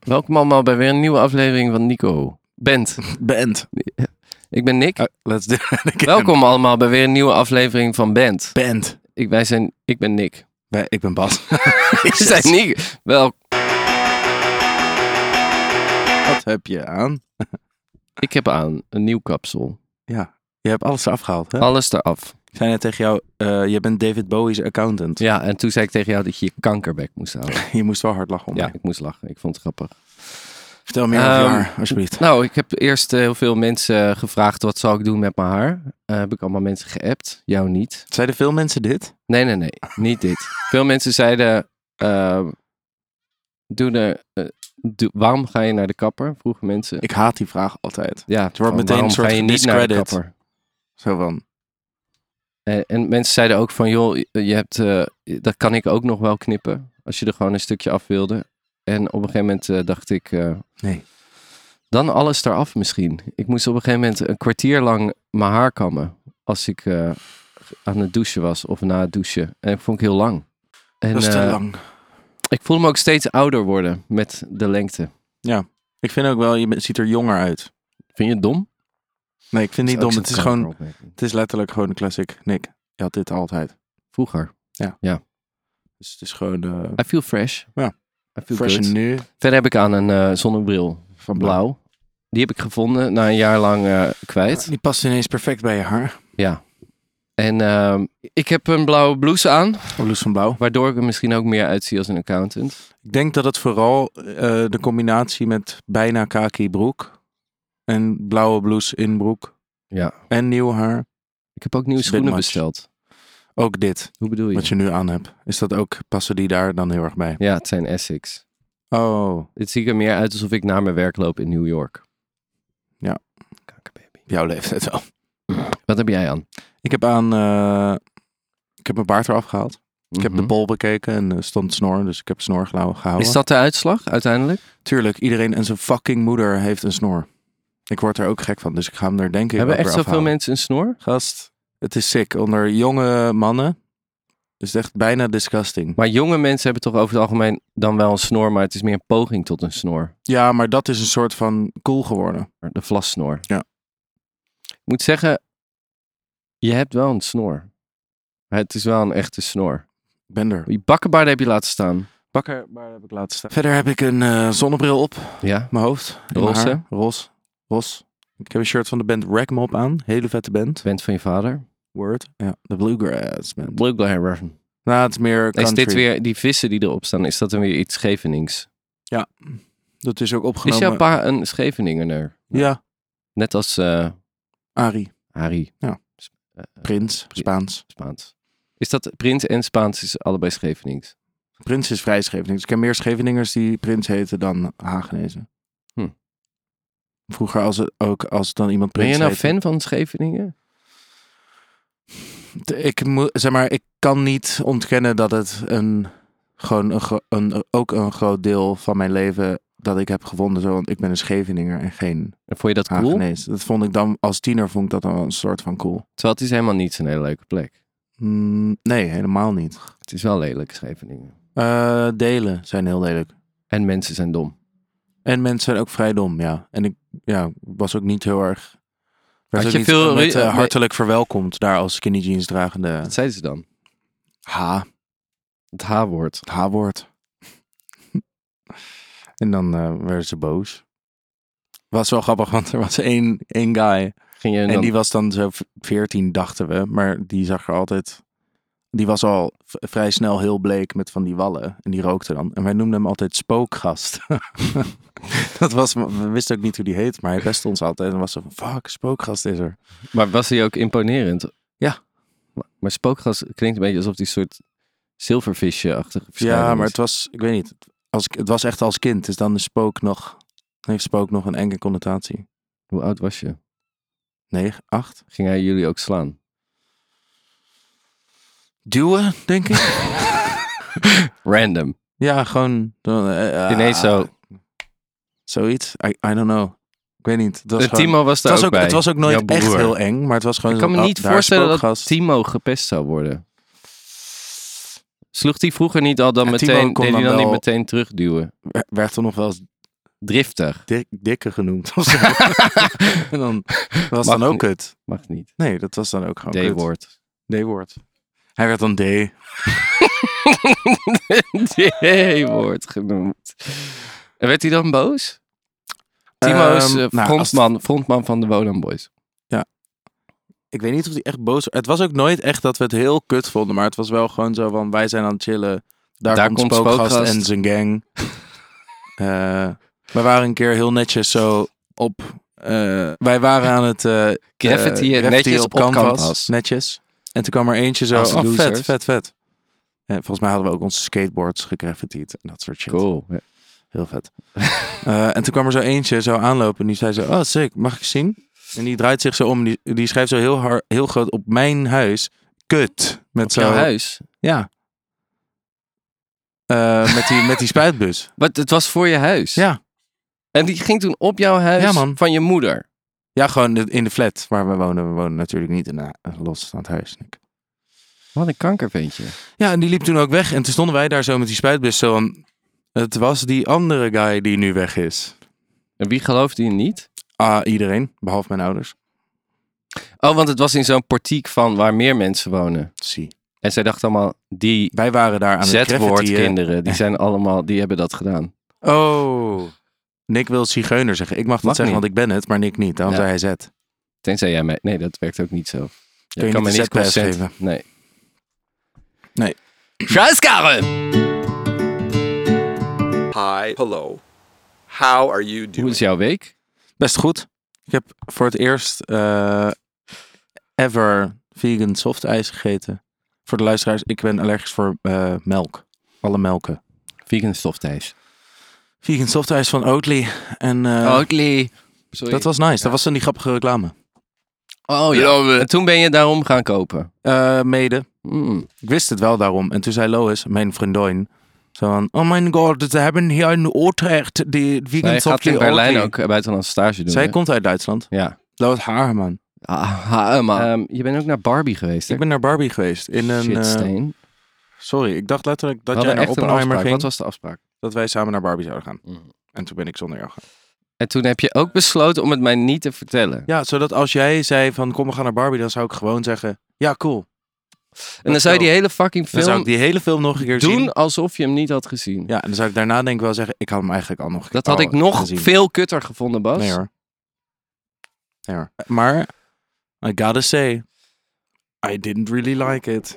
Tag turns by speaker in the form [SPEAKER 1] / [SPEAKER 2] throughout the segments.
[SPEAKER 1] Welkom allemaal bij weer een nieuwe aflevering van Nico. Bent.
[SPEAKER 2] Band.
[SPEAKER 1] Ik ben Nick.
[SPEAKER 2] Uh, let's do it again.
[SPEAKER 1] Welkom allemaal bij weer een nieuwe aflevering van Bent.
[SPEAKER 2] Band.
[SPEAKER 1] Ik, wij zijn, ik ben Nick.
[SPEAKER 2] Wij- Ik ben Bas.
[SPEAKER 1] We zijn Nick. Wel,
[SPEAKER 2] Wat heb je aan?
[SPEAKER 1] ik heb aan een nieuw kapsel.
[SPEAKER 2] Ja. Je hebt alles eraf gehaald, hè?
[SPEAKER 1] Alles eraf.
[SPEAKER 2] Ik zei net tegen jou, eh, je bent David Bowie's accountant.
[SPEAKER 1] Ja, en toen zei ik tegen jou dat je je kankerback moest houden.
[SPEAKER 2] Je moest wel hard lachen om
[SPEAKER 1] Ja,
[SPEAKER 2] mij.
[SPEAKER 1] ik moest lachen. Ik vond het grappig.
[SPEAKER 2] Vertel meer over je
[SPEAKER 1] Ehm,
[SPEAKER 2] haar, alsjeblieft.
[SPEAKER 1] Nou, ik heb eerst eh, heel veel mensen gevraagd wat zal ik doen met mijn haar. Eh, heb ik allemaal mensen geappt. Jou niet.
[SPEAKER 2] Zeiden veel mensen dit?
[SPEAKER 1] Nee, nee, nee. Niet dit. Veel mensen zeiden... ehm, doe de, eh, doe- waarom ga je naar de kapper? Vroegen mensen.
[SPEAKER 2] Ik haat die vraag altijd.
[SPEAKER 1] ja,
[SPEAKER 2] wordt meteen een
[SPEAKER 1] waarom
[SPEAKER 2] soort
[SPEAKER 1] ga je niet naar de
[SPEAKER 2] discredit.
[SPEAKER 1] kapper?
[SPEAKER 2] Zo van,
[SPEAKER 1] En, en mensen zeiden ook van... joh, je hebt, eh, dat kan ik ook nog wel knippen. Als je er gewoon een stukje af wilde. En op een gegeven moment eh, dacht ik... eh,
[SPEAKER 2] nee.
[SPEAKER 1] dan alles eraf misschien. Ik moest op een gegeven moment een kwartier lang mijn haar kammen. Als ik eh, aan het douchen was of na het douchen. En dat vond ik heel lang. En,
[SPEAKER 2] dat is te
[SPEAKER 1] eh,
[SPEAKER 2] lang.
[SPEAKER 1] Ik voel me ook steeds ouder worden met de lengte.
[SPEAKER 2] Ik vind ook wel, je bent- ziet er jonger uit.
[SPEAKER 1] Vind je het dom?
[SPEAKER 2] Nee, ik vind het niet
[SPEAKER 1] Dat
[SPEAKER 2] dom.
[SPEAKER 1] ook
[SPEAKER 2] Het is,
[SPEAKER 1] zo'n
[SPEAKER 2] gewoon,
[SPEAKER 1] kankeropmerking.
[SPEAKER 2] het is letterlijk gewoon een classic. Nick, je had dit altijd.
[SPEAKER 1] Vroeger.
[SPEAKER 2] Dus het is gewoon eh,
[SPEAKER 1] I feel fresh.
[SPEAKER 2] Ja.
[SPEAKER 1] I feel
[SPEAKER 2] fresh
[SPEAKER 1] good.
[SPEAKER 2] and new.
[SPEAKER 1] Verder heb ik aan een eh, zonnebril
[SPEAKER 2] Van blauw.
[SPEAKER 1] blauw. Die heb ik gevonden na een jaar lang eh, kwijt.
[SPEAKER 2] Die past ineens perfect bij je haar.
[SPEAKER 1] En ehm, ik heb een blauwe blouse aan.
[SPEAKER 2] Blouse van blauw.
[SPEAKER 1] Waardoor ik er misschien ook meer uitzie als een accountant.
[SPEAKER 2] Ik denk dat het vooral eh, de combinatie met bijna kaki broek en blauwe blouse in broek
[SPEAKER 1] Ja.
[SPEAKER 2] en nieuw haar.
[SPEAKER 1] Ik heb ook nieuwe
[SPEAKER 2] It's a bit
[SPEAKER 1] schoenen
[SPEAKER 2] much.
[SPEAKER 1] besteld.
[SPEAKER 2] Ook dit,
[SPEAKER 1] Hoe bedoel je?
[SPEAKER 2] wat je nu aan hebt. Is dat ook, passen die daar dan heel erg bij?
[SPEAKER 1] Ja, het zijn Essex.
[SPEAKER 2] Oh,
[SPEAKER 1] Het ziet er meer uit alsof ik naar mijn werk loop in New York.
[SPEAKER 2] Ja.
[SPEAKER 1] Kankerbaby.
[SPEAKER 2] jouw leeftijd wel.
[SPEAKER 1] Wat heb jij aan?
[SPEAKER 2] Ik heb aan, eh, ik heb mijn baard eraf gehaald. Ik heb de
[SPEAKER 1] Mhm.
[SPEAKER 2] bol bekeken en er stond snor, dus ik heb snor gehou- gehouden.
[SPEAKER 1] Is dat de uitslag uiteindelijk?
[SPEAKER 2] Tuurlijk, iedereen en zijn fucking moeder heeft een snor. Ik word er ook gek van, dus ik ga hem er denk ik
[SPEAKER 1] Hebben
[SPEAKER 2] ook
[SPEAKER 1] echt
[SPEAKER 2] weer
[SPEAKER 1] zoveel
[SPEAKER 2] afhalen.
[SPEAKER 1] mensen een snor?
[SPEAKER 2] Gast, het is sick. Onder jonge mannen is het echt bijna disgusting.
[SPEAKER 1] Maar jonge mensen hebben toch over het algemeen dan wel een snor, maar het is meer een poging tot een snor.
[SPEAKER 2] Ja, maar dat is een soort van cool geworden.
[SPEAKER 1] De vlassnor.
[SPEAKER 2] Ja.
[SPEAKER 1] Ik moet zeggen, je hebt wel een snor. Het is wel een echte snor.
[SPEAKER 2] Ik ben er.
[SPEAKER 1] Die bakkenbaarden heb je laten staan.
[SPEAKER 2] Bakker, maar heb ik laten staan. Verder heb ik een eh, zonnebril op,
[SPEAKER 1] Ja.
[SPEAKER 2] op mijn hoofd. in mijn
[SPEAKER 1] Roze.
[SPEAKER 2] haar. Ros. Ros. Ik heb een shirt van de band Ragmop aan. Hele vette band.
[SPEAKER 1] Bent van je vader.
[SPEAKER 2] Word. Ja, de Bluegrass band.
[SPEAKER 1] Bluegrass.
[SPEAKER 2] Nou, het is meer country.
[SPEAKER 1] Is dit weer die vissen die erop staan? Is dat dan weer iets Schevenings?
[SPEAKER 2] Ja, dat is ook
[SPEAKER 1] Is
[SPEAKER 2] opgenomen.
[SPEAKER 1] jouw pa een Scheveningener?
[SPEAKER 2] Ja,
[SPEAKER 1] Net als eh
[SPEAKER 2] Ari.
[SPEAKER 1] Harry.
[SPEAKER 2] Ja.
[SPEAKER 1] Sp- eh, eh,
[SPEAKER 2] Prins. Spaans.
[SPEAKER 1] Spaans. Is dat Prins en Spaans is allebei Schevenings?
[SPEAKER 2] Prins is vrij Schevenings. Ik ken meer Scheveningers die Prins heten dan Hagenezen.
[SPEAKER 1] Hm.
[SPEAKER 2] Vroeger als het, ook als dan iemand
[SPEAKER 1] Ben
[SPEAKER 2] Prins
[SPEAKER 1] je nou
[SPEAKER 2] heette.
[SPEAKER 1] fan van Scheveningen?
[SPEAKER 2] T- Ik, moet, zeg maar, ik kan niet ontkennen dat het een, gewoon een, gro- een, ook een groot deel van mijn leven dat ik heb gevonden. Zo, want ik ben een Scheveninger en geen
[SPEAKER 1] En vond je dat cool?
[SPEAKER 2] Hagenees. Dat vond ik dan als tiener vond ik dat dan wel een soort van cool.
[SPEAKER 1] Terwijl het is helemaal niet zo'n hele leuke plek.
[SPEAKER 2] Mm, nee, helemaal niet.
[SPEAKER 1] Het is wel lelijk, Scheveningen.
[SPEAKER 2] Eh, delen zijn heel lelijk.
[SPEAKER 1] En mensen zijn dom.
[SPEAKER 2] En mensen zijn ook vrij dom, ja. En ik ja, was ook niet heel erg...
[SPEAKER 1] Had
[SPEAKER 2] Werd ook
[SPEAKER 1] je
[SPEAKER 2] niet
[SPEAKER 1] veel-
[SPEAKER 2] met, eh,
[SPEAKER 1] eh,
[SPEAKER 2] hartelijk verwelkomd daar als skinny jeans dragende
[SPEAKER 1] Wat zeiden ze dan?
[SPEAKER 2] H,
[SPEAKER 1] Het H-woord.
[SPEAKER 2] het H-woord. en dan eh, werden ze boos. Was wel grappig, want er was één, één guy.
[SPEAKER 1] Ging je
[SPEAKER 2] En,
[SPEAKER 1] dan...
[SPEAKER 2] die was dan zo v- 14, dachten we. Maar die zag er altijd... Die was al v- vrij snel heel bleek met van die wallen. En die rookte dan. En wij noemden hem altijd spookgast. dat was... We wisten ook niet hoe die heet. Maar hij beste ons altijd. En was zo van... Fuck, spookgast is er.
[SPEAKER 1] Maar was hij ook imponerend?
[SPEAKER 2] Ja.
[SPEAKER 1] Maar, maar spookgas klinkt een beetje alsof die soort zilvervisje-achtige verschijning
[SPEAKER 2] Ja, maar
[SPEAKER 1] is.
[SPEAKER 2] het was... Ik weet niet. Als, ik- het was echt als kind. Dus dan is spook nog... Heeft spook nog een enge connotatie.
[SPEAKER 1] Hoe oud was je?
[SPEAKER 2] Negen, acht.
[SPEAKER 1] Ging hij jullie ook slaan?
[SPEAKER 2] Duwen, denk ik.
[SPEAKER 1] Random.
[SPEAKER 2] ja, gewoon... eh, eh,
[SPEAKER 1] Ineens zo.
[SPEAKER 2] Zoiets. I, I don't know. Ik weet niet. Het was
[SPEAKER 1] Eh,
[SPEAKER 2] gewoon-
[SPEAKER 1] Timo was
[SPEAKER 2] Het
[SPEAKER 1] daar
[SPEAKER 2] was,
[SPEAKER 1] ook,
[SPEAKER 2] ook,
[SPEAKER 1] bij.
[SPEAKER 2] het was ook nooit
[SPEAKER 1] Jouw
[SPEAKER 2] echt
[SPEAKER 1] broer.
[SPEAKER 2] heel eng, maar het was gewoon...
[SPEAKER 1] Ik kan me
[SPEAKER 2] zo,
[SPEAKER 1] niet
[SPEAKER 2] oh, daar is
[SPEAKER 1] voorstellen dat
[SPEAKER 2] spookgast.
[SPEAKER 1] Timo gepest zou worden. Sloeg hij vroeger niet al dan
[SPEAKER 2] Ja, Timo
[SPEAKER 1] meteen,
[SPEAKER 2] kon
[SPEAKER 1] deed hij
[SPEAKER 2] dan
[SPEAKER 1] dan niet
[SPEAKER 2] wel-
[SPEAKER 1] meteen terugduwen?
[SPEAKER 2] werd er nog wel eens
[SPEAKER 1] Driftig.
[SPEAKER 2] Dik, dikke genoemd of zo. en dan dat was
[SPEAKER 1] Mag
[SPEAKER 2] dan ook
[SPEAKER 1] niet.
[SPEAKER 2] kut.
[SPEAKER 1] Mag niet.
[SPEAKER 2] Nee, dat was dan ook gewoon kut.
[SPEAKER 1] D-woord.
[SPEAKER 2] D-woord. Hij werd dan D.
[SPEAKER 1] D-woord genoemd. En werd hij dan boos? Timo is
[SPEAKER 2] Ehm,
[SPEAKER 1] eh,
[SPEAKER 2] nou, als het-
[SPEAKER 1] frontman, frontman van de Wodan Boys.
[SPEAKER 2] ik weet niet of hij echt boos was. Het was ook nooit echt dat we het heel kut vonden, maar het was wel gewoon zo van wij zijn aan het chillen. Daar,
[SPEAKER 1] Daar
[SPEAKER 2] komt,
[SPEAKER 1] komt
[SPEAKER 2] Spookgast,
[SPEAKER 1] Spookgast.
[SPEAKER 2] en zijn gang. Eh, we waren een keer heel netjes zo op. eh, wij waren aan het eh,
[SPEAKER 1] Graffiti
[SPEAKER 2] eh,
[SPEAKER 1] en
[SPEAKER 2] graffiti
[SPEAKER 1] netjes op canvas.
[SPEAKER 2] Netjes. En toen kwam er eentje zo.
[SPEAKER 1] Als
[SPEAKER 2] Oh, vet,
[SPEAKER 1] losers.
[SPEAKER 2] vet, vet. En volgens mij hadden we ook onze skateboards gegraffitied en dat soort shit.
[SPEAKER 1] Cool. Ja.
[SPEAKER 2] Heel vet. Eh, en toen kwam er zo eentje zo aanlopen en die zei zo, oh sick, mag ik zien? En die draait zich zo om, die, die schrijft zo heel, hard, heel groot op mijn huis, kut. Met
[SPEAKER 1] Op
[SPEAKER 2] zo,
[SPEAKER 1] jouw huis.
[SPEAKER 2] Ja. Eh, met, die, met die spuitbus.
[SPEAKER 1] Maar het was voor je huis.
[SPEAKER 2] Ja.
[SPEAKER 1] En die ging toen op jouw huis
[SPEAKER 2] Ja, man.
[SPEAKER 1] van je moeder.
[SPEAKER 2] Ja, gewoon in de flat waar we wonen. We wonen natuurlijk niet in eh, een losstaand huis. Nick.
[SPEAKER 1] Wat een kankerventje.
[SPEAKER 2] Ja, en die liep toen ook weg. En toen stonden wij daar zo met die spuitbus zo van, het was die andere guy die nu weg is.
[SPEAKER 1] En wie geloofde je niet?
[SPEAKER 2] Ah, iedereen, behalve mijn ouders.
[SPEAKER 1] Oh, want het was in zo'n portiek van waar meer mensen wonen.
[SPEAKER 2] Zie.
[SPEAKER 1] En zij dachten allemaal, die
[SPEAKER 2] Wij waren daar aan het graffitiën.
[SPEAKER 1] Z-woordkinderen, die zijn allemaal, die hebben dat gedaan.
[SPEAKER 2] Oh. Nick wil zigeuner zeggen. Ik mag dat
[SPEAKER 1] Mag
[SPEAKER 2] zeggen,
[SPEAKER 1] niet.
[SPEAKER 2] want ik ben het, maar Nick niet. Daarom
[SPEAKER 1] Ja.
[SPEAKER 2] zei hij Z.
[SPEAKER 1] Tenzij jij mij... Nee, dat werkt ook niet zo. Jij
[SPEAKER 2] je niet de Z-pass
[SPEAKER 1] consent- Nee.
[SPEAKER 2] Nee.
[SPEAKER 1] Schuiskaren!
[SPEAKER 3] Hi, hello. How are you doing?
[SPEAKER 1] Hoe is jouw week?
[SPEAKER 2] Best goed. Ik heb voor het eerst eh, ever vegan softijs gegeten. Voor de luisteraars, ik ben allergisch voor eh, melk. Alle melken.
[SPEAKER 1] Vegan stoftijs.
[SPEAKER 2] Vegan softijs van Oatly. En eh,
[SPEAKER 1] Oh, Oatly. Sorry.
[SPEAKER 2] dat was nice. Dat was dan die grappige reclame.
[SPEAKER 1] Oh ja. En toen ben je daarom gaan kopen.
[SPEAKER 2] Eh, mede.
[SPEAKER 1] Mm.
[SPEAKER 2] Ik wist het wel daarom. En toen zei Lois, mijn vriendin, zo van... Oh mijn god, ze hebben hier in Utrecht die vegan
[SPEAKER 1] Zij gaat
[SPEAKER 2] softijs
[SPEAKER 1] in Berlijn
[SPEAKER 2] Oatly."
[SPEAKER 1] ook eh, buitenlandse stage doen.
[SPEAKER 2] Zij
[SPEAKER 1] hè?
[SPEAKER 2] komt uit Duitsland.
[SPEAKER 1] Ja.
[SPEAKER 2] Dat was haar, man.
[SPEAKER 1] Ah, ha, eh, man. Ehm, je bent ook naar Barbie geweest, hè?
[SPEAKER 2] Ik ben naar Barbie geweest. In een,
[SPEAKER 1] Shit,
[SPEAKER 2] eh,
[SPEAKER 1] Steen.
[SPEAKER 2] sorry, ik dacht letterlijk
[SPEAKER 1] We
[SPEAKER 2] dat jij
[SPEAKER 1] hadden
[SPEAKER 2] naar
[SPEAKER 1] echt een
[SPEAKER 2] Oppenheimer
[SPEAKER 1] afspraak. Wat
[SPEAKER 2] ging.
[SPEAKER 1] was de afspraak?
[SPEAKER 2] Dat wij samen naar Barbie zouden gaan.
[SPEAKER 1] Mm.
[SPEAKER 2] En toen ben ik zonder jou gegaan.
[SPEAKER 1] En toen heb je ook besloten om het mij niet te vertellen.
[SPEAKER 2] Ja, zodat als jij zei van kom we gaan naar Barbie, dan zou ik gewoon zeggen... Ja, cool.
[SPEAKER 1] en dan zou je die hele fucking
[SPEAKER 2] Dan zou
[SPEAKER 1] film
[SPEAKER 2] ik die hele film nog een keer
[SPEAKER 1] doen
[SPEAKER 2] zien.
[SPEAKER 1] alsof je hem niet had gezien.
[SPEAKER 2] Ja, en dan zou ik daarna denk ik wel zeggen... Ik had hem eigenlijk al nog
[SPEAKER 1] Dat had
[SPEAKER 2] al
[SPEAKER 1] ik nog
[SPEAKER 2] Oh, gezien.
[SPEAKER 1] veel kutter gevonden, Bas.
[SPEAKER 2] Nee hoor. Nee hoor. Eh, Maar, I gotta say... I didn't really like it.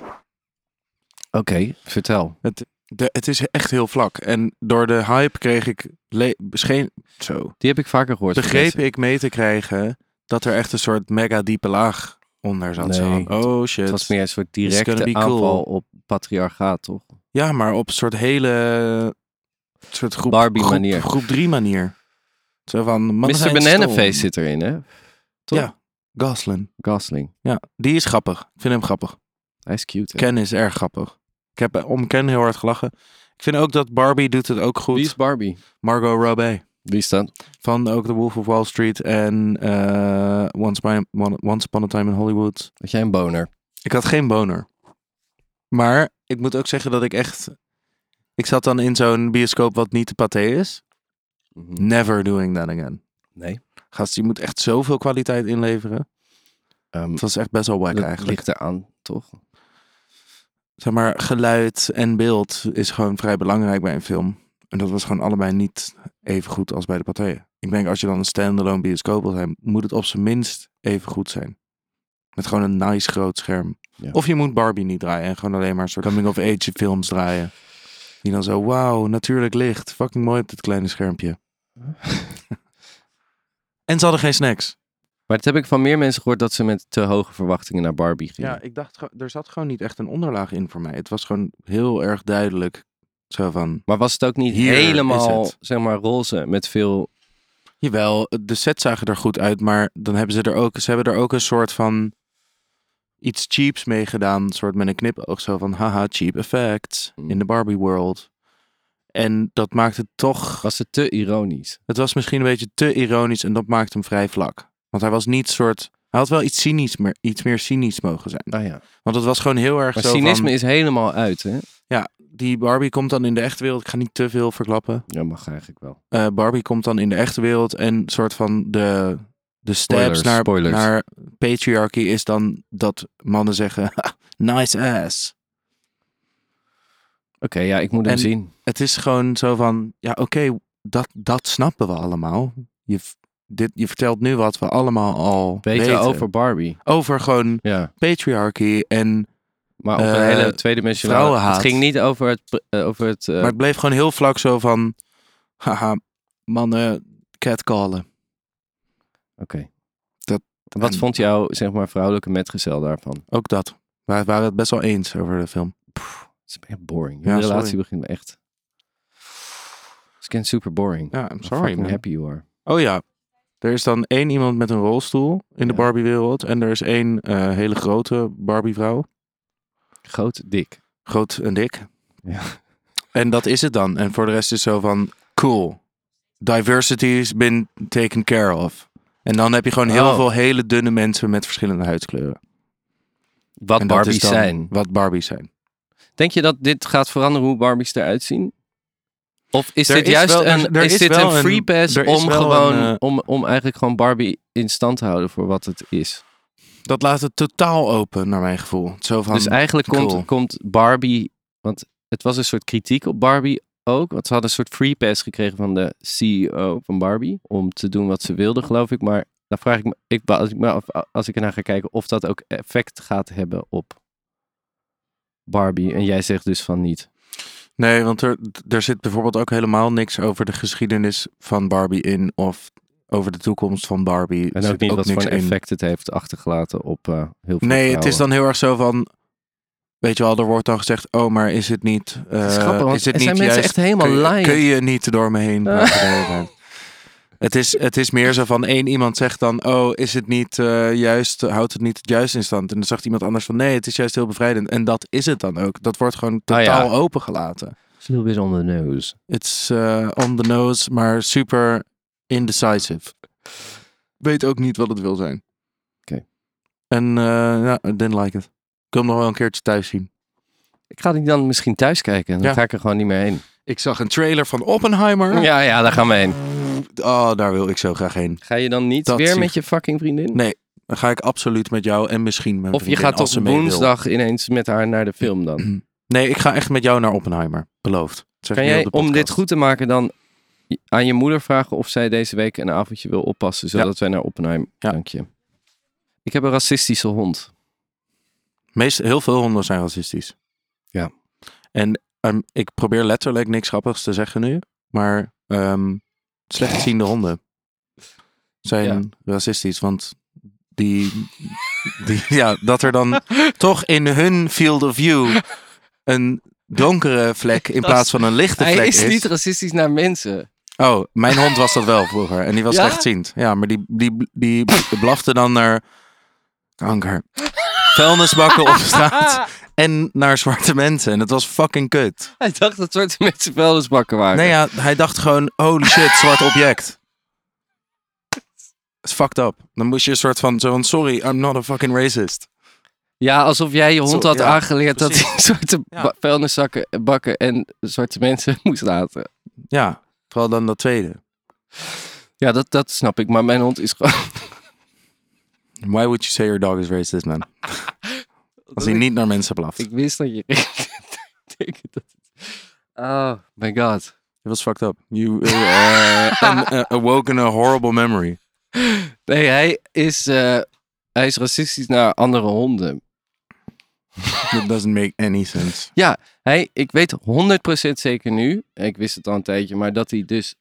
[SPEAKER 1] Oké, vertel.
[SPEAKER 2] De, het is echt heel vlak. En door de hype kreeg ik... le- Scheen, zo.
[SPEAKER 1] Die heb ik vaker gehoord. van
[SPEAKER 2] begreep
[SPEAKER 1] mensen.
[SPEAKER 2] ik mee te krijgen dat er echt een soort mega diepe laag onder zat. Zo
[SPEAKER 1] Nee.
[SPEAKER 2] van, oh shit.
[SPEAKER 1] Het was meer een soort
[SPEAKER 2] It's gonna
[SPEAKER 1] directe
[SPEAKER 2] be cool.
[SPEAKER 1] aanval op patriarchaat, toch?
[SPEAKER 2] Ja, maar op een soort hele soort groep,
[SPEAKER 1] Barbie
[SPEAKER 2] groep-
[SPEAKER 1] manier.
[SPEAKER 2] Groep, drie manier. Zo van mannen
[SPEAKER 1] Mr.
[SPEAKER 2] zijn
[SPEAKER 1] Bananenface
[SPEAKER 2] stom.
[SPEAKER 1] zit erin, hè? Toch?
[SPEAKER 2] Ja. Gosling.
[SPEAKER 1] Gosling.
[SPEAKER 2] Ja, die is grappig. Ik vind hem grappig.
[SPEAKER 1] Hij is cute, hè?
[SPEAKER 2] Ken is erg grappig. Ik heb eh, om Ken heel hard gelachen. Ik vind ook dat Barbie doet het ook goed.
[SPEAKER 1] Wie is Barbie?
[SPEAKER 2] Margot Robbie.
[SPEAKER 1] Wie is dat?
[SPEAKER 2] Van ook The Wolf of Wall Street en eh, Once, by, Once Upon a Time in Hollywood.
[SPEAKER 1] Had jij een boner?
[SPEAKER 2] Ik had geen boner. Maar ik moet ook zeggen dat ik echt... Ik zat dan in zo'n bioscoop wat niet de paté is. Mhm. Never doing that again.
[SPEAKER 1] Nee.
[SPEAKER 2] Gast, je moet echt zoveel kwaliteit inleveren.
[SPEAKER 1] Ehm,
[SPEAKER 2] Het was echt best wel wack
[SPEAKER 1] dat
[SPEAKER 2] eigenlijk.
[SPEAKER 1] ligt eraan, toch?
[SPEAKER 2] Zeg maar, geluid en beeld is gewoon vrij belangrijk bij een film. En dat was gewoon allebei niet even goed als bij de paté. Ik denk, als je dan een standalone bioscoop wil zijn, moet het op zijn minst even goed zijn. Met gewoon een nice groot scherm.
[SPEAKER 1] Ja.
[SPEAKER 2] Of je moet Barbie niet draaien en gewoon alleen maar een soort coming-of-age films draaien. Die dan zo, wauw, natuurlijk licht. Fucking mooi op dit kleine schermpje. en ze hadden geen snacks.
[SPEAKER 1] Maar dat heb ik van meer mensen gehoord dat ze met te hoge verwachtingen naar Barbie gingen.
[SPEAKER 2] Ja, ik dacht, ge- er zat gewoon niet echt een onderlaag in voor mij. Het was gewoon heel erg duidelijk. Zo van,
[SPEAKER 1] Maar was het ook niet
[SPEAKER 2] Hier is
[SPEAKER 1] helemaal,
[SPEAKER 2] het.
[SPEAKER 1] zeg maar, roze met veel...
[SPEAKER 2] Jawel, de sets zagen er goed uit, maar dan hebben ze er ook, ze hebben er ook een soort van iets cheaps mee gedaan, een soort met een knipoog zo van haha cheap effects
[SPEAKER 1] Hmm.
[SPEAKER 2] in de Barbie world. En dat maakt het toch,
[SPEAKER 1] Was het te ironisch?
[SPEAKER 2] het was misschien een beetje te ironisch en dat maakt hem vrij vlak. Want hij was niet soort, hij had wel iets cynisch, meer, iets meer cynisch mogen zijn.
[SPEAKER 1] Ah ja.
[SPEAKER 2] Want het was gewoon heel erg
[SPEAKER 1] Maar
[SPEAKER 2] zo
[SPEAKER 1] cynisme
[SPEAKER 2] van,
[SPEAKER 1] is helemaal uit, hè?
[SPEAKER 2] ja, die Barbie komt dan in de echte wereld. Ik ga niet te veel verklappen.
[SPEAKER 1] Ja, mag eigenlijk wel.
[SPEAKER 2] Eh, Barbie komt dan in de echte wereld en soort van de, de steps
[SPEAKER 1] Spoilers,
[SPEAKER 2] naar,
[SPEAKER 1] spoilers.
[SPEAKER 2] naar patriarchy is dan dat mannen zeggen, nice ass.
[SPEAKER 1] Oké, ja, ik moet hem
[SPEAKER 2] En-
[SPEAKER 1] zien.
[SPEAKER 2] Het is gewoon zo van, ja oké, dat, dat snappen we allemaal. Je, v- dit, je vertelt nu wat we allemaal al
[SPEAKER 1] Weten,
[SPEAKER 2] weten.
[SPEAKER 1] over Barbie.
[SPEAKER 2] Over gewoon
[SPEAKER 1] Ja,
[SPEAKER 2] patriarchy en...
[SPEAKER 1] maar op een
[SPEAKER 2] Eh,
[SPEAKER 1] hele tweedimensionale... Het
[SPEAKER 2] vrouwenhaat.
[SPEAKER 1] ging niet over het... pr- eh, over het eh,
[SPEAKER 2] Maar het bleef gewoon heel vlak zo van, haha, mannen catcallen.
[SPEAKER 1] Oké.
[SPEAKER 2] Dat-
[SPEAKER 1] Wat
[SPEAKER 2] en-
[SPEAKER 1] vond jouw, zeg maar, vrouwelijke metgezel daarvan?
[SPEAKER 2] Ook dat. We waren het best wel eens over de film.
[SPEAKER 1] Het is echt boring.
[SPEAKER 2] Ja,
[SPEAKER 1] De relatie
[SPEAKER 2] sorry.
[SPEAKER 1] begint me echt... It's getting super boring.
[SPEAKER 2] Ja, I'm
[SPEAKER 1] I'm
[SPEAKER 2] sorry.
[SPEAKER 1] fucking
[SPEAKER 2] man.
[SPEAKER 1] happy you are.
[SPEAKER 2] Oh ja. Er is dan één iemand met een rolstoel in de
[SPEAKER 1] Ja.
[SPEAKER 2] Barbie-wereld. En er is één eh, hele grote Barbie-vrouw.
[SPEAKER 1] Groot, dik.
[SPEAKER 2] Groot en dik.
[SPEAKER 1] Ja.
[SPEAKER 2] En dat is het dan. En voor de rest is zo van, cool. Diversity's been taken care of. En dan heb je gewoon heel
[SPEAKER 1] Oh.
[SPEAKER 2] veel hele dunne mensen met verschillende huidskleuren.
[SPEAKER 1] Wat
[SPEAKER 2] en dat is
[SPEAKER 1] Barbies
[SPEAKER 2] dan
[SPEAKER 1] zijn.
[SPEAKER 2] Wat Barbies zijn.
[SPEAKER 1] Denk je dat dit gaat veranderen hoe Barbies eruit zien? Of is
[SPEAKER 2] Er
[SPEAKER 1] dit
[SPEAKER 2] is
[SPEAKER 1] juist
[SPEAKER 2] wel- er-
[SPEAKER 1] een,
[SPEAKER 2] er
[SPEAKER 1] is
[SPEAKER 2] is
[SPEAKER 1] dit
[SPEAKER 2] wel
[SPEAKER 1] een
[SPEAKER 2] een-
[SPEAKER 1] free pass
[SPEAKER 2] er is
[SPEAKER 1] om
[SPEAKER 2] wel
[SPEAKER 1] gewoon,
[SPEAKER 2] een, eh,
[SPEAKER 1] om, om eigenlijk gewoon Barbie in stand te houden voor wat het is?
[SPEAKER 2] Dat laat het totaal open, naar mijn gevoel. Zo van,
[SPEAKER 1] dus eigenlijk
[SPEAKER 2] cool.
[SPEAKER 1] komt, komt Barbie, want het was een soort kritiek op Barbie ook, want ze hadden een soort free pass gekregen van de CEO van Barbie om te doen wat ze wilden, geloof ik. Maar dan vraag ik me, ik, als, ik me af, als ik ernaar ga kijken, of dat ook effect gaat hebben op Barbie. En jij zegt dus van niet.
[SPEAKER 2] Nee, want er, er zit bijvoorbeeld ook helemaal niks over de geschiedenis van Barbie in. Of over de toekomst van Barbie. Er
[SPEAKER 1] En
[SPEAKER 2] zit
[SPEAKER 1] ook niet wat voor
[SPEAKER 2] niks
[SPEAKER 1] een
[SPEAKER 2] in.
[SPEAKER 1] effect het heeft achtergelaten op eh, heel veel
[SPEAKER 2] Nee, het is
[SPEAKER 1] vrouwen.
[SPEAKER 2] dan heel erg zo van. Weet je wel, er wordt dan gezegd: Oh, maar is het niet. eh,
[SPEAKER 1] Het is grappig, want
[SPEAKER 2] is het
[SPEAKER 1] er
[SPEAKER 2] niet
[SPEAKER 1] zijn mensen
[SPEAKER 2] juist-
[SPEAKER 1] echt helemaal
[SPEAKER 2] kun, je-
[SPEAKER 1] lying.
[SPEAKER 2] kun je niet door me heen
[SPEAKER 1] Eh.
[SPEAKER 2] praten de hele tijd? Het is, het is meer zo van één iemand zegt dan: Oh, is het niet eh, juist. Houdt het niet het juist in stand? En dan zegt iemand anders van: Nee, het is juist heel bevrijdend. En dat is het dan ook. Dat wordt gewoon
[SPEAKER 1] Ah, ja.
[SPEAKER 2] totaal opengelaten.
[SPEAKER 1] It's a little bit on the nose.
[SPEAKER 2] It's eh, on the nose, maar super indecisive. Weet ook niet wat het wil zijn.
[SPEAKER 1] Oké.
[SPEAKER 2] En eh ja, I didn't like it. Ik wil hem nog wel een keertje thuis zien.
[SPEAKER 1] Ik ga die dan misschien thuis kijken. Dan
[SPEAKER 2] Ja.
[SPEAKER 1] ga ik er gewoon niet meer heen.
[SPEAKER 2] Ik zag een trailer van Oppenheimer.
[SPEAKER 1] Ja, ja, daar gaan we heen.
[SPEAKER 2] Oh, daar wil ik zo graag heen.
[SPEAKER 1] Ga je dan niet
[SPEAKER 2] Dat
[SPEAKER 1] weer
[SPEAKER 2] zie
[SPEAKER 1] met
[SPEAKER 2] ik.
[SPEAKER 1] je fucking vriendin?
[SPEAKER 2] Nee, dan ga ik absoluut met jou en misschien met
[SPEAKER 1] of je gaat
[SPEAKER 2] als
[SPEAKER 1] toch
[SPEAKER 2] ze mee wil.
[SPEAKER 1] woensdag ineens met haar naar de film dan?
[SPEAKER 2] Nee, ik ga echt met jou naar Oppenheimer. Beloofd. Dat zeg
[SPEAKER 1] Kan
[SPEAKER 2] ik nu
[SPEAKER 1] jij,
[SPEAKER 2] op de
[SPEAKER 1] om
[SPEAKER 2] podcast.
[SPEAKER 1] dit goed te maken, dan aan je moeder vragen of zij deze week een avondje wil oppassen, zodat wij naar Oppenheim.
[SPEAKER 2] Ja.
[SPEAKER 1] Dank je. Ik heb een racistische hond.
[SPEAKER 2] Meest, heel veel honden zijn racistisch.
[SPEAKER 1] Ja.
[SPEAKER 2] En ehm, ik probeer letterlijk niks grappigs te zeggen nu, maar ehm slechtziende honden zijn racistisch, want die, die, ja, dat er dan toch in hun field of view een donkere vlek in
[SPEAKER 1] Dat-
[SPEAKER 2] plaats van een lichte
[SPEAKER 1] Hij
[SPEAKER 2] vlek
[SPEAKER 1] is niet racistisch naar mensen.
[SPEAKER 2] Oh, mijn hond was dat wel vroeger. En die was
[SPEAKER 1] Ja?
[SPEAKER 2] slechtziend. Ja, maar die, die, die blafte dan naar kanker. Vuilnisbakken op straat. En naar zwarte mensen. En het was fucking kut.
[SPEAKER 1] Hij dacht dat soort mensen vuilnisbakken waren.
[SPEAKER 2] Nee ja, hij dacht gewoon, holy shit, zwart object. It's fucked up. Dan moest je een soort van, zo van, sorry, I'm not a fucking racist.
[SPEAKER 1] Ja, alsof jij je hond
[SPEAKER 2] Zo,
[SPEAKER 1] had
[SPEAKER 2] ja,
[SPEAKER 1] aangeleerd dat
[SPEAKER 2] precies.
[SPEAKER 1] hij zwarte
[SPEAKER 2] Ja.
[SPEAKER 1] ba- vuilniszakken bakken en zwarte mensen moest laten.
[SPEAKER 2] Ja, vooral dan dat tweede.
[SPEAKER 1] Ja, dat, dat snap ik. Maar mijn hond is gewoon...
[SPEAKER 2] Why would you say your dog is racist, man? Als hij niet naar mensen blaft.
[SPEAKER 1] Ik wist dat je... Ik denk dat het- Oh, my god.
[SPEAKER 2] It was fucked up. You uh, un- uh, awoken a horrible memory.
[SPEAKER 1] Nee, hij is, eh, hij is racistisch naar andere honden.
[SPEAKER 2] That doesn't make any sense.
[SPEAKER 1] Ja, hij, ik weet 100% zeker nu, ik wist het al een tijdje, maar dat hij dus...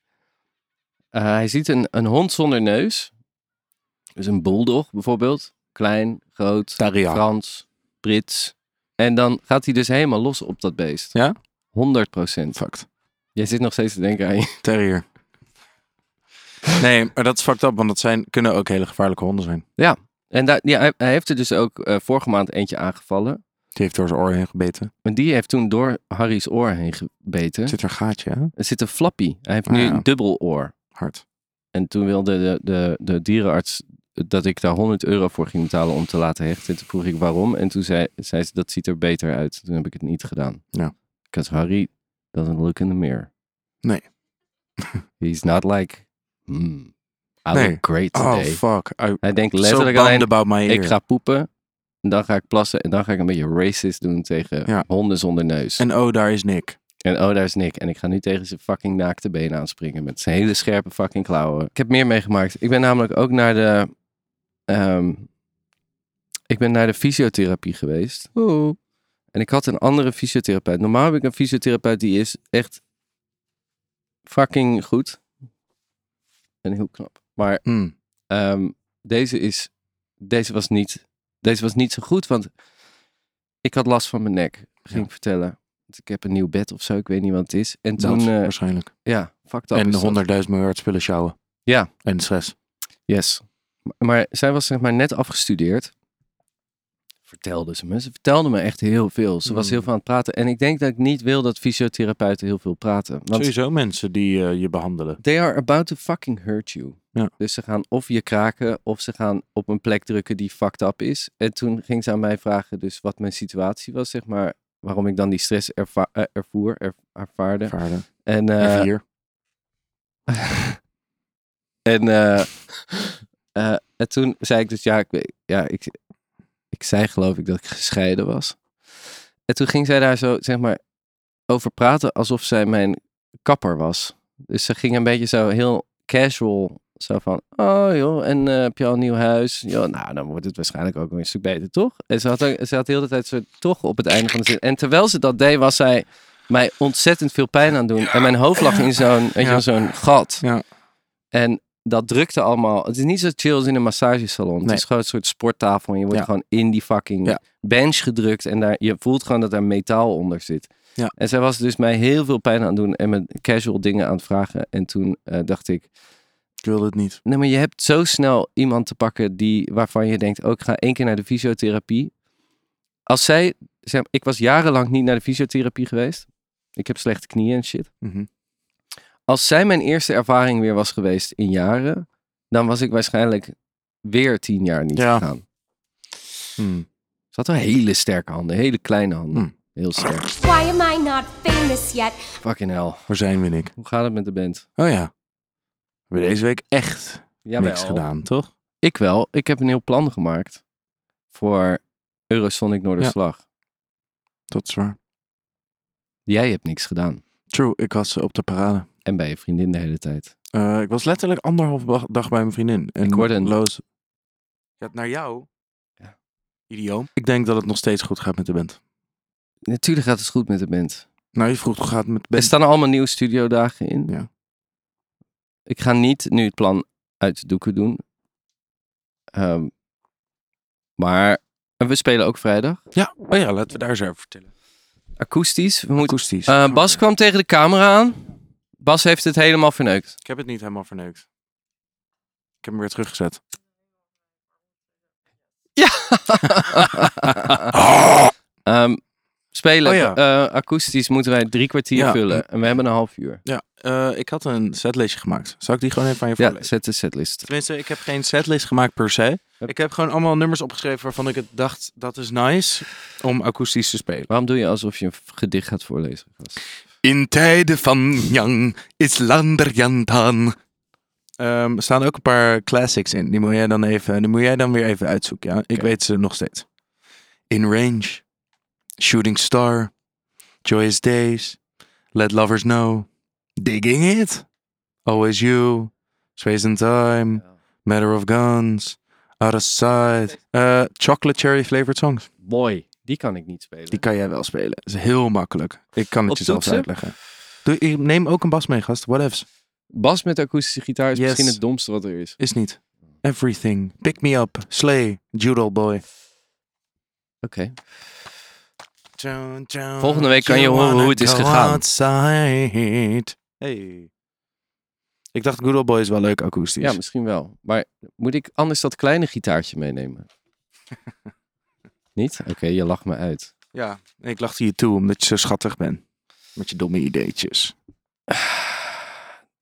[SPEAKER 1] eh, hij ziet een, een hond zonder neus. Dus een bulldog bijvoorbeeld. Klein, groot.
[SPEAKER 2] Staria.
[SPEAKER 1] Frans, Brits. En dan gaat hij dus helemaal los op dat beest.
[SPEAKER 2] Ja?
[SPEAKER 1] 100 procent.
[SPEAKER 2] Fucked.
[SPEAKER 1] Jij zit nog steeds te denken aan je.
[SPEAKER 2] Terrier. Nee, maar dat is fucked up, want dat zijn, kunnen ook hele gevaarlijke honden zijn.
[SPEAKER 1] En daar, ja, hij, hij heeft er dus ook eh, vorige maand eentje aangevallen.
[SPEAKER 2] Die heeft door zijn oor heen gebeten.
[SPEAKER 1] En die heeft toen door Harry's oor heen gebeten.
[SPEAKER 2] Zit er een gaatje, hè?
[SPEAKER 1] Er zit een flappie. Hij heeft nu
[SPEAKER 2] Ah, ja.
[SPEAKER 1] een dubbel oor.
[SPEAKER 2] Hard.
[SPEAKER 1] En toen wilde de, de, de dierenarts dat ik daar 100 euro voor ging betalen om te laten hechten. Toen vroeg ik waarom. En toen zei, zei ze dat ziet er beter uit. Toen heb ik het niet gedaan.
[SPEAKER 2] Ja.
[SPEAKER 1] Because Harry doesn't look in the mirror.
[SPEAKER 2] Nee.
[SPEAKER 1] He's not like, hmm, I
[SPEAKER 2] Nee.
[SPEAKER 1] look great
[SPEAKER 2] Oh,
[SPEAKER 1] today.
[SPEAKER 2] fuck. I
[SPEAKER 1] Hij denkt
[SPEAKER 2] so
[SPEAKER 1] letterlijk
[SPEAKER 2] bummed
[SPEAKER 1] alleen,
[SPEAKER 2] about my ear.
[SPEAKER 1] ik ga poepen. En dan ga ik plassen. En dan ga ik een beetje racist doen tegen
[SPEAKER 2] Ja.
[SPEAKER 1] honden zonder neus. En,
[SPEAKER 2] En oh, daar is Nick.
[SPEAKER 1] oh, daar is Nick. En ik ga nu tegen zijn fucking naakte benen aanspringen. Met zijn hele scherpe fucking klauwen. Ik heb meer meegemaakt. Ik ben namelijk ook naar de... ehm, ik ben naar de fysiotherapie geweest. Oeh. En ik had een andere fysiotherapeut. Normaal heb ik een fysiotherapeut die is echt fucking goed. En heel knap. Maar
[SPEAKER 2] Hm.
[SPEAKER 1] Ehm, deze, is, deze, was niet, deze was niet zo goed, want ik had last van mijn nek, ging
[SPEAKER 2] Ja.
[SPEAKER 1] ik vertellen. Want ik heb een nieuw bed of zo, ik weet niet wat het is. En
[SPEAKER 2] Dat
[SPEAKER 1] toen, eh,
[SPEAKER 2] waarschijnlijk.
[SPEAKER 1] ja, fuck dat.
[SPEAKER 2] En
[SPEAKER 1] is dat.
[SPEAKER 2] 100.000 miljard spullen sjouwen.
[SPEAKER 1] Ja.
[SPEAKER 2] En stress.
[SPEAKER 1] Yes. Maar, maar zij was zeg maar net afgestudeerd. Vertelde ze me. Ze vertelde me echt heel veel. Ze was
[SPEAKER 2] Mm.
[SPEAKER 1] heel veel aan het praten. En ik denk dat ik niet wil dat fysiotherapeuten heel veel praten. Want
[SPEAKER 2] Sowieso mensen die eh, je behandelen.
[SPEAKER 1] They are about to fucking hurt you.
[SPEAKER 2] Ja.
[SPEAKER 1] Dus ze gaan of je kraken of ze gaan op een plek drukken die fucked up is. En toen ging ze aan mij vragen dus wat mijn situatie was, zeg maar. Waarom ik dan die stress erva- eh, ervoer, er- ervaarde.
[SPEAKER 2] Vaarden.
[SPEAKER 1] En, eh,
[SPEAKER 2] en vier.
[SPEAKER 1] en, eh, eh, en toen zei ik dus, ja, ik, weet- ja ik, ik zei geloof ik dat ik gescheiden was. En toen ging zij daar zo, zeg maar, over praten alsof zij mijn kapper was. Dus ze ging een beetje zo heel casual, zo van, oh joh, en eh, heb je al een nieuw huis? Ja, nou, dan wordt het waarschijnlijk ook weer een stuk beter, toch? En ze had, ook- ze had de hele tijd zo toch op het einde van de zin. En terwijl ze dat deed, was zij mij ontzettend veel pijn aan het doen. En mijn hoofd lag in zo'n, weet je
[SPEAKER 2] Ja.
[SPEAKER 1] wel, zo'n gat.
[SPEAKER 2] Ja.
[SPEAKER 1] En dat drukte allemaal. Het is niet zo chill als in een massagesalon. Het
[SPEAKER 2] Nee.
[SPEAKER 1] is gewoon een soort sporttafel. En je wordt
[SPEAKER 2] Ja.
[SPEAKER 1] gewoon in die fucking
[SPEAKER 2] Ja.
[SPEAKER 1] bench gedrukt. En daar, je voelt gewoon dat daar metaal onder zit.
[SPEAKER 2] Ja.
[SPEAKER 1] En zij was dus mij heel veel pijn aan het doen. En me casual dingen aan het vragen. En toen eh, dacht ik...
[SPEAKER 2] Ik wilde het niet.
[SPEAKER 1] Nee, maar je hebt zo snel iemand te pakken die, waarvan je denkt, oh, ik ga één keer naar de fysiotherapie. Als zij, zeg, ik was jarenlang niet naar de fysiotherapie geweest. Ik heb slechte knieën en shit.
[SPEAKER 2] Mhm.
[SPEAKER 1] Als zij mijn eerste ervaring weer was geweest in jaren, dan was ik waarschijnlijk weer tien jaar niet
[SPEAKER 2] Ja.
[SPEAKER 1] gegaan.
[SPEAKER 2] Hm.
[SPEAKER 1] Ze had wel hele sterke handen, hele kleine handen.
[SPEAKER 2] Hm.
[SPEAKER 1] Heel sterk.
[SPEAKER 4] Why am I not famous yet?
[SPEAKER 1] Fucking hell.
[SPEAKER 2] Waar zijn we, Nick?
[SPEAKER 1] Hoe gaat het met de band?
[SPEAKER 2] Oh ja. We hebben deze week echt
[SPEAKER 1] Jawel.
[SPEAKER 2] niks gedaan, toch?
[SPEAKER 1] Ik wel. Ik heb een heel plan gemaakt voor Eurosonic Noorderslag.
[SPEAKER 2] Dat is waar.
[SPEAKER 1] Jij hebt niks gedaan.
[SPEAKER 2] True, ik was eh, op de parade.
[SPEAKER 1] En bij je vriendin de hele tijd.
[SPEAKER 2] Eh, ik was letterlijk anderhalf ba- dag bij mijn vriendin. En
[SPEAKER 1] Ik hoorde een-
[SPEAKER 2] Loos... Ja, naar jou?
[SPEAKER 1] Ja.
[SPEAKER 2] Idioom. Ik denk dat het nog steeds goed gaat met de band.
[SPEAKER 1] Natuurlijk gaat het goed met de band.
[SPEAKER 2] Nou, je vroeg hoe gaat het met de
[SPEAKER 1] Er
[SPEAKER 2] band?
[SPEAKER 1] staan allemaal nieuwe studiodagen in.
[SPEAKER 2] Ja.
[SPEAKER 1] Ik ga niet nu het plan uit de doeken doen. Ehm, maar en we spelen ook vrijdag.
[SPEAKER 2] Ja, oh ja, laten we daar eens over vertellen.
[SPEAKER 1] Akoestisch. We moeten,
[SPEAKER 2] Akoestisch.
[SPEAKER 1] Eh, Bas kwam tegen de camera aan. Bas heeft het helemaal verneukt.
[SPEAKER 2] Ik heb het niet helemaal verneukt. Ik heb hem weer teruggezet.
[SPEAKER 1] Ehm, spelen.
[SPEAKER 2] Oh ja.
[SPEAKER 1] eh, akoestisch moeten wij drie kwartier
[SPEAKER 2] Ja.
[SPEAKER 1] vullen. En we hebben een half uur.
[SPEAKER 2] Ja, eh, ik had een setlistje gemaakt. Zal ik die gewoon even aan je
[SPEAKER 1] Ja,
[SPEAKER 2] voorlezen?
[SPEAKER 1] zet de setlist.
[SPEAKER 2] Tenminste, ik heb geen setlist gemaakt per se. Ik heb gewoon allemaal nummers opgeschreven waarvan ik het dacht, dat is nice om akoestisch te spelen.
[SPEAKER 1] Waarom doe je alsof je een f- gedicht gaat voorlezen? gast?
[SPEAKER 2] In tijden van Yang is lander Yantan. Ehm, er staan ook een paar classics in. Die moet jij dan, even, die moet jij dan weer even uitzoeken. Ja? Ik
[SPEAKER 1] Oké.
[SPEAKER 2] weet ze nog steeds. In Range, Shooting Star, Joyous Days, Let Lovers Know, Digging It, Always You, Space and Time, Matter of Guns, Out of Sight, eh, Chocolate Cherry Flavored Songs.
[SPEAKER 1] Boy, die kan ik niet spelen.
[SPEAKER 2] Die kan jij wel spelen. Dat is heel makkelijk. Ik kan het
[SPEAKER 1] Op
[SPEAKER 2] je zelfs
[SPEAKER 1] toetsen?
[SPEAKER 2] uitleggen. Doe, neem ook een bas mee, gast. Whatevs.
[SPEAKER 1] Bas met akoestische gitaar is
[SPEAKER 2] Yes.
[SPEAKER 1] misschien het domste wat er is.
[SPEAKER 2] Is niet. Everything. Pick me up. Slay. Judo boy.
[SPEAKER 1] Oké. Volgende week kan je horen hoe het is gegaan.
[SPEAKER 2] Hey. Ik dacht Good Old Boy is wel leuk akoestisch.
[SPEAKER 1] Ja, misschien wel. Maar moet ik anders dat kleine gitaartje meenemen? Niet? Oké, je lacht me uit.
[SPEAKER 2] Ja, ik lachte je toe omdat je zo schattig bent. Met je domme ideetjes.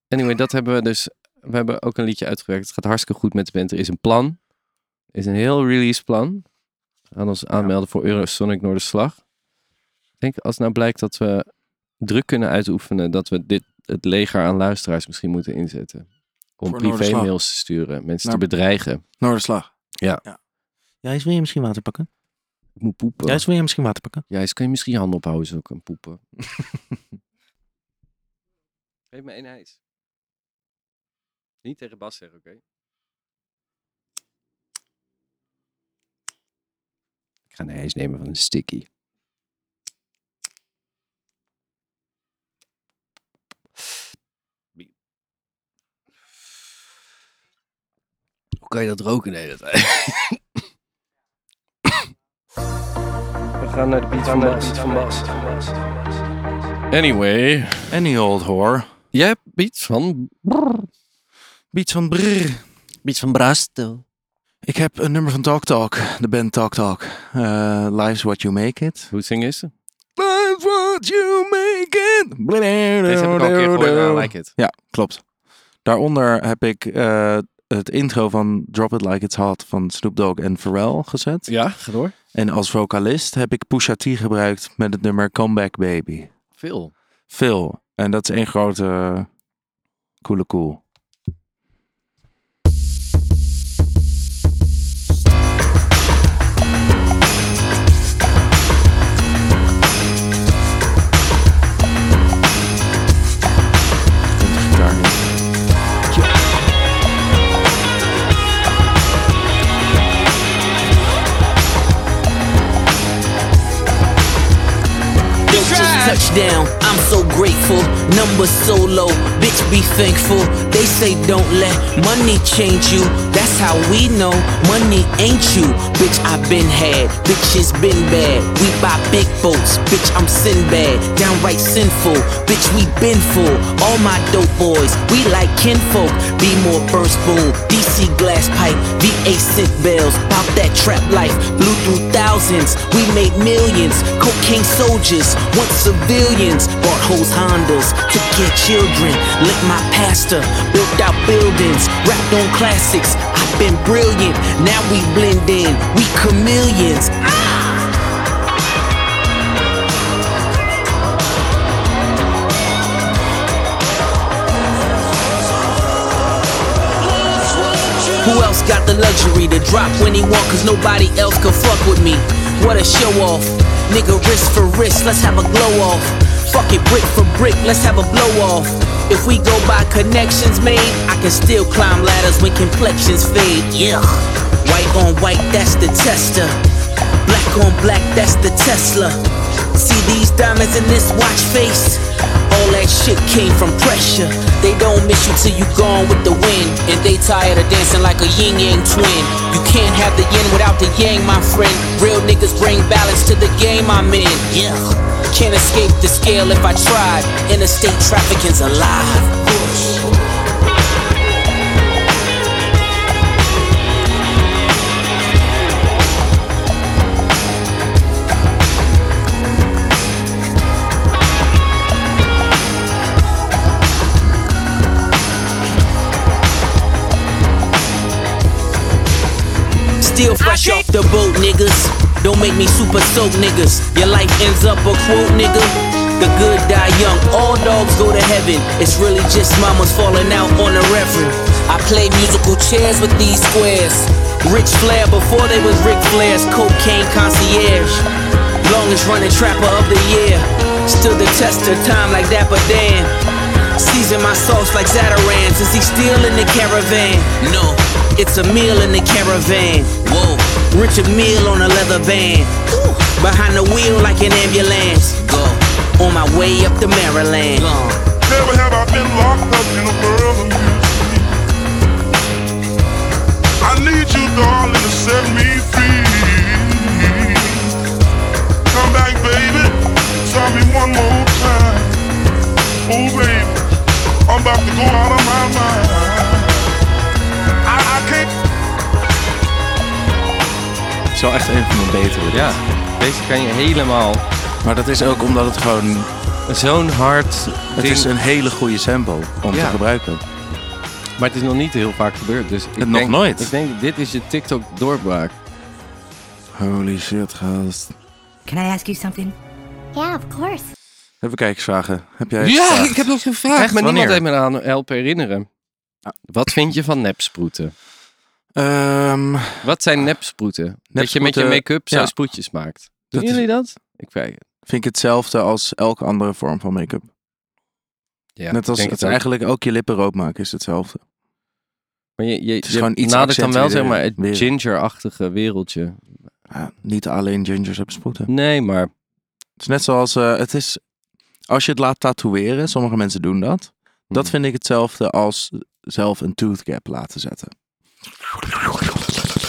[SPEAKER 1] Anyway, dat hebben we dus. We hebben ook een liedje uitgewerkt. Het gaat hartstikke goed met de band. Er is een plan. Er is een heel release plan. Aan ons aanmelden voor Eurosonic Noorderslag. Ik denk als nou blijkt dat we druk kunnen uitoefenen dat we dit, het leger aan luisteraars misschien moeten inzetten. Om
[SPEAKER 2] Voor Noorderslag.
[SPEAKER 1] privé-mails te sturen, mensen
[SPEAKER 2] Nou.
[SPEAKER 1] te bedreigen.
[SPEAKER 2] Noorderslag.
[SPEAKER 1] Ja.
[SPEAKER 2] ja. Jijs, wil je misschien water pakken?
[SPEAKER 1] Ik moet poepen.
[SPEAKER 2] Jijs, wil je misschien water pakken?
[SPEAKER 1] Ja, eens kun je misschien je hand ophouden zo kan poepen. Geef me één ijs. Niet tegen Bas zeggen, oké? Ik ga een ijs nemen van een sticky. Hoe kan je dat roken de hele tijd? We gaan naar de pizza van Bas. Anyway.
[SPEAKER 2] Any old whore.
[SPEAKER 1] Jij hebt iets van...
[SPEAKER 2] Beats van Brrr.
[SPEAKER 1] Iets van Brastel.
[SPEAKER 2] Ik heb een nummer van Talk Talk, de band Talk Talk. Eh, Life's What You Make It.
[SPEAKER 1] Hoe zingen ze?
[SPEAKER 2] Life's What You Make It.
[SPEAKER 1] Deze heb ik al een keer gehoord en I like it.
[SPEAKER 2] Ja, klopt. Daaronder heb ik eh, het intro van Drop It Like It's Hot van Snoop Dogg en Pharrell gezet.
[SPEAKER 1] Ja, ga door.
[SPEAKER 2] En als vocalist heb ik Pusha T gebruikt met het nummer Comeback Baby.
[SPEAKER 1] Veel.
[SPEAKER 2] Phil. En dat is één grote eh, coole cool. Komt de gitaar nu.
[SPEAKER 5] Yo, just touchdown. I'm so grateful. Numbers so low. Bitch, be thankful. They say don't let money change you. That's how we know money ain't you. Bitch, i been had. Bitch, it's been bad. We buy big boats. Bitch, I'm Sinbad. Downright sinful. Bitch, we been full. All my dope boys. We like kinfolk. Be more burn spoon. DC glass pipe. VA synth bells. Pop that trap life. Blew through thousands. We made millions. Cocaine soldiers, once civilians. Bought hoes Hondas, took your children. Licked my pastor, built out buildings. Rapped on classics. I've been brilliant. Now we blend in. We chameleons. Who else got the luxury to drop when he want? Cause nobody else could fuck with me. What a show off. Nigga, wrist for wrist, let's have a glow off. Fuck it, brick for brick, let's have a blow off. If we go by connections made, I can still climb ladders when complexions fade. Yeah. White on white, that's the tester. Black on black, that's the Tesla. See these diamonds in this watch face? All that shit came from pressure. They don't miss you till you gone with the wind. And they tired of dancing like a yin yang twin. You can't have the yin without the yang, my friend. Real niggas bring balance to the game I'm in. Yeah. Can't escape the scale if I tried. Interstate trafficking's alive. Still fresh off the boat, niggas. Don't make me super soak, niggas. Your life ends up a quote, nigga. The good die young, all dogs go to heaven. It's really just mamas falling out on the reverend. I play musical chairs with these squares. Rich Flair before they was Ric Flair's cocaine concierge. Longest running trapper of the year. Still the test of time like Dapper Dan. Season my sauce like Zatarans. Is he still in the caravan? No, it's a meal in the caravan. Whoa, Richard Meal on a leather van. Behind the wheel like an ambulance. Go. On my way up to Maryland.
[SPEAKER 6] Never have I been locked up in a world of misery. I need you, darling, to set me free. Come back, baby. Tell me one more time. Oh, baby, I'm about to go out of my mind. I, I can't.
[SPEAKER 2] Het is wel echt een van mijn betere. dit.
[SPEAKER 1] Ja, deze kan je helemaal.
[SPEAKER 2] Maar dat is ook omdat het gewoon...
[SPEAKER 1] Zo'n hard
[SPEAKER 2] Het
[SPEAKER 1] ding.
[SPEAKER 2] is een hele goede sample om
[SPEAKER 1] Ja.
[SPEAKER 2] te gebruiken.
[SPEAKER 1] Maar het is nog niet heel vaak gebeurd. Dus ik
[SPEAKER 2] Nog
[SPEAKER 1] denk-
[SPEAKER 2] nooit.
[SPEAKER 1] Ik denk, dit is je TikTok doorbraak.
[SPEAKER 2] Holy shit, gast.
[SPEAKER 7] Can I ask you something?
[SPEAKER 4] Yeah, of course.
[SPEAKER 2] Even kijkersvragen. Heb jij
[SPEAKER 1] Ja,
[SPEAKER 2] gevraagd?
[SPEAKER 1] ik heb nog gevraagd,
[SPEAKER 2] Echt?
[SPEAKER 1] maar niemand heeft
[SPEAKER 2] Wanneer? Ah.
[SPEAKER 1] me aan helpen herinneren. Wat vind je van nepsproeten?
[SPEAKER 2] Ehm,
[SPEAKER 1] Wat zijn nepsproeten? Dat je met je
[SPEAKER 2] Nepsproeten-
[SPEAKER 1] make-up zo
[SPEAKER 2] ja.
[SPEAKER 1] sproetjes maakt.
[SPEAKER 2] Dat
[SPEAKER 1] Doen
[SPEAKER 2] is-
[SPEAKER 1] jullie dat? Ik vraag het.
[SPEAKER 2] vind ik hetzelfde als elke andere vorm van make-up.
[SPEAKER 1] Ja,
[SPEAKER 2] Net als
[SPEAKER 1] ik denk
[SPEAKER 2] het
[SPEAKER 1] ook.
[SPEAKER 2] eigenlijk ook je lippen rood maken is hetzelfde.
[SPEAKER 1] Maar je, je,
[SPEAKER 2] is
[SPEAKER 1] je
[SPEAKER 2] gewoon iets
[SPEAKER 1] nadert dan wel zeg maar het
[SPEAKER 2] accentueren. Weer.
[SPEAKER 1] ginger-achtige wereldje.
[SPEAKER 2] Ja, niet alleen gingers hebben sproeten.
[SPEAKER 1] Nee, maar
[SPEAKER 2] Het is net zoals, eh, het is, als je het laat tatoeëren, sommige mensen doen dat. Dat
[SPEAKER 1] Mhm.
[SPEAKER 2] vind ik hetzelfde als zelf een tooth gap laten zetten.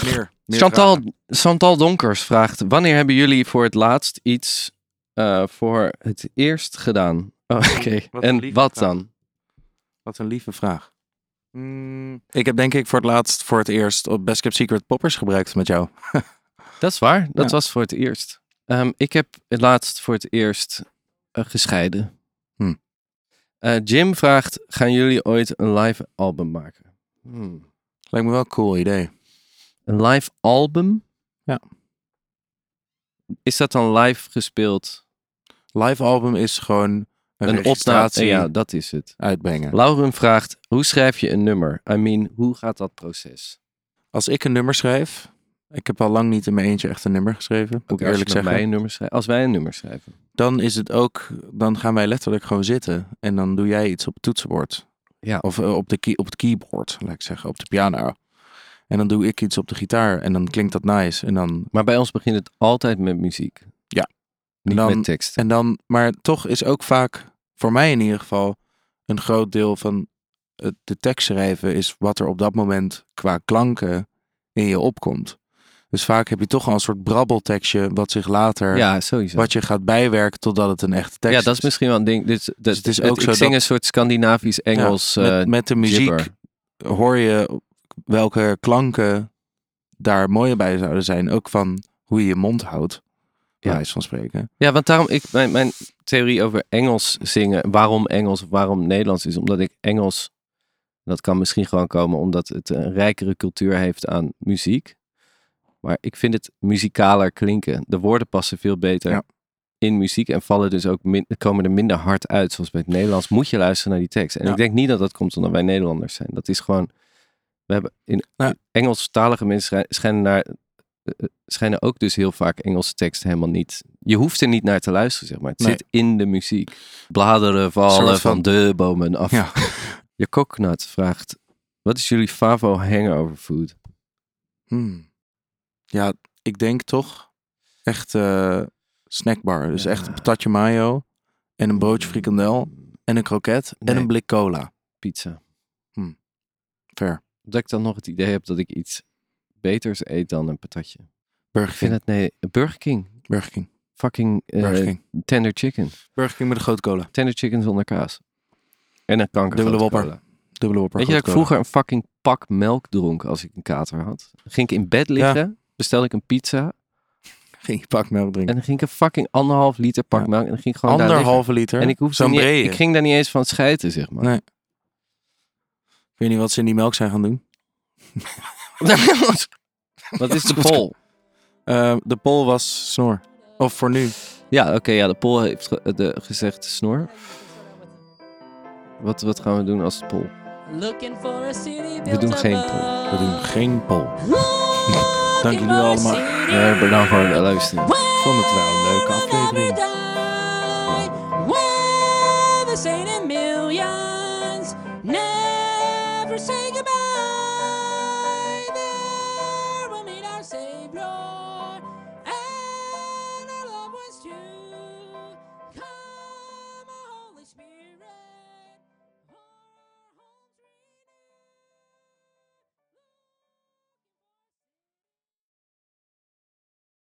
[SPEAKER 2] Meer, meer
[SPEAKER 1] Chantal,
[SPEAKER 2] vragen.
[SPEAKER 1] Chantal Donkers vraagt: Wanneer hebben jullie voor het laatst iets eh, voor het eerst gedaan? Oh, Oké,
[SPEAKER 2] wat een
[SPEAKER 1] en
[SPEAKER 2] lieve
[SPEAKER 1] wat
[SPEAKER 2] vraag.
[SPEAKER 1] dan?
[SPEAKER 2] Wat een lieve vraag. Mm, Ik heb denk ik voor het laatst, voor het eerst, op Best Kept Secret poppers gebruikt met jou.
[SPEAKER 1] Dat is waar, dat
[SPEAKER 2] Ja.
[SPEAKER 1] was voor het eerst. Ehm, ik heb het laatst voor het eerst eh, gescheiden.
[SPEAKER 2] Hm.
[SPEAKER 1] Eh, Jim vraagt: Gaan jullie ooit een live album maken? Hmm.
[SPEAKER 2] Lijkt me wel een cool idee.
[SPEAKER 1] Een live album?
[SPEAKER 2] Ja.
[SPEAKER 1] Is dat dan live gespeeld?
[SPEAKER 2] Live album is gewoon een,
[SPEAKER 1] Een, opname?
[SPEAKER 2] registratie
[SPEAKER 1] Ja, dat is het.
[SPEAKER 2] uitbrengen.
[SPEAKER 1] Lauren vraagt: Hoe schrijf je een nummer? I mean, hoe gaat dat proces?
[SPEAKER 2] Als ik een nummer schrijf, ik heb al lang niet in mijn eentje echt een nummer geschreven, moet
[SPEAKER 1] Oké, als
[SPEAKER 2] ik
[SPEAKER 1] je
[SPEAKER 2] eerlijk
[SPEAKER 1] met
[SPEAKER 2] zeggen.
[SPEAKER 1] mij een nummer schrijft- als wij een nummer schrijven.
[SPEAKER 2] dan is het ook, dan gaan wij letterlijk gewoon zitten en dan doe jij iets op het toetsenbord.
[SPEAKER 1] Ja.
[SPEAKER 2] Of eh, op, de key, op het keyboard, laat ik zeggen, op de piano. En dan doe ik iets op de gitaar en dan klinkt dat nice. En dan,
[SPEAKER 1] Maar bij ons begint het altijd met muziek.
[SPEAKER 2] Ja.
[SPEAKER 1] Niet
[SPEAKER 2] Dan-
[SPEAKER 1] met tekst.
[SPEAKER 2] en dan, maar toch is ook vaak, voor mij in ieder geval, een groot deel van het, de tekst schrijven is wat er op dat moment qua klanken in je opkomt. Dus vaak heb je toch al een soort brabbeltekstje wat zich later,
[SPEAKER 1] Ja, sowieso.
[SPEAKER 2] wat je gaat bijwerken totdat het een echte tekst
[SPEAKER 1] ja, dat is misschien wel een ding. Dit, dat,
[SPEAKER 2] het is
[SPEAKER 1] het-
[SPEAKER 2] ook
[SPEAKER 1] ik
[SPEAKER 2] zo
[SPEAKER 1] zing
[SPEAKER 2] dat-
[SPEAKER 1] een soort Scandinavisch-Engels.
[SPEAKER 2] Ja, met,
[SPEAKER 1] eh,
[SPEAKER 2] met de muziek
[SPEAKER 1] gibber.
[SPEAKER 2] hoor je welke klanken daar mooi bij zouden zijn. Ook van hoe je je mond houdt, bij
[SPEAKER 1] Ja.
[SPEAKER 2] wijze van spreken.
[SPEAKER 1] ja, want daarom, ik, mijn, mijn theorie over Engels zingen, waarom Engels of waarom Nederlands is, omdat ik Engels, dat kan misschien gewoon komen omdat het een rijkere cultuur heeft aan muziek. Maar ik vind het muzikaler klinken. De woorden passen veel beter
[SPEAKER 2] Ja.
[SPEAKER 1] in muziek en vallen dus ook min- komen er minder hard uit. Zoals bij het Nederlands moet je luisteren naar die tekst. En
[SPEAKER 2] Ja.
[SPEAKER 1] ik denk niet dat dat komt omdat wij Nederlanders zijn. Dat is gewoon. We hebben in
[SPEAKER 2] Ja.
[SPEAKER 1] Engelstalige mensen schij- schijnen, naar, eh, schijnen ook dus heel vaak Engelse teksten helemaal niet. Je hoeft er niet naar te luisteren, zeg maar. Het
[SPEAKER 2] Nee.
[SPEAKER 1] zit in de muziek. Bladeren
[SPEAKER 2] Een
[SPEAKER 1] vallen van,
[SPEAKER 2] soort van-
[SPEAKER 1] de bomen af.
[SPEAKER 2] Ja.
[SPEAKER 1] Je koknat vraagt: wat is jullie favo hangover food?
[SPEAKER 2] Hmm. Ja, ik denk toch echt eh, snackbar. Dus
[SPEAKER 1] Ja. Hmm.
[SPEAKER 2] echt een patatje mayo en een broodje frikandel en een kroket en
[SPEAKER 1] Nee.
[SPEAKER 2] een blik cola.
[SPEAKER 1] Pizza.
[SPEAKER 2] Fair.
[SPEAKER 1] dat ik dan nog het idee heb dat ik iets beters eet dan een patatje.
[SPEAKER 2] Burger
[SPEAKER 1] Ik vind
[SPEAKER 2] King.
[SPEAKER 1] het, nee, Burger King.
[SPEAKER 2] Burger King.
[SPEAKER 1] Fucking eh,
[SPEAKER 2] Burger King.
[SPEAKER 1] tender chicken.
[SPEAKER 2] Burger King met een grote cola.
[SPEAKER 1] Tender chicken zonder kaas. En een kanker.
[SPEAKER 2] Dubbele whopper. Dubbele whopper.
[SPEAKER 1] Weet je dat ik
[SPEAKER 2] grote cola.
[SPEAKER 1] vroeger een fucking pak melk dronk als ik een kater had? Dan ging ik in bed liggen, bestelde ik een pizza
[SPEAKER 2] Ging je pak melk
[SPEAKER 1] en
[SPEAKER 2] drinken.
[SPEAKER 1] dan ging ik een fucking anderhalf liter pak
[SPEAKER 2] Ja.
[SPEAKER 1] melk en dan ging ik gewoon daar liggen.
[SPEAKER 2] Anderhalve liter.
[SPEAKER 1] En ik, hoefde
[SPEAKER 2] Zo'n
[SPEAKER 1] niet,
[SPEAKER 2] brede.
[SPEAKER 1] ik ging daar niet eens van schijten, zeg maar.
[SPEAKER 2] Nee. Ik weet niet wat ze in die melk zijn gaan doen.
[SPEAKER 1] Wat is de pol?
[SPEAKER 2] Eh, de pol was snor. Of voor nu.
[SPEAKER 1] Ja, oké, ja, de pol heeft ge- de, gezegd snor. Wat, wat gaan we doen als de pol?
[SPEAKER 7] We
[SPEAKER 1] We doen geen pol.
[SPEAKER 2] We doen geen pol. Dank
[SPEAKER 7] Dank
[SPEAKER 2] jullie allemaal.
[SPEAKER 1] Eh, bedankt voor het luisteren.
[SPEAKER 2] Ik vond het wel een leuke aflevering.
[SPEAKER 7] aflevering.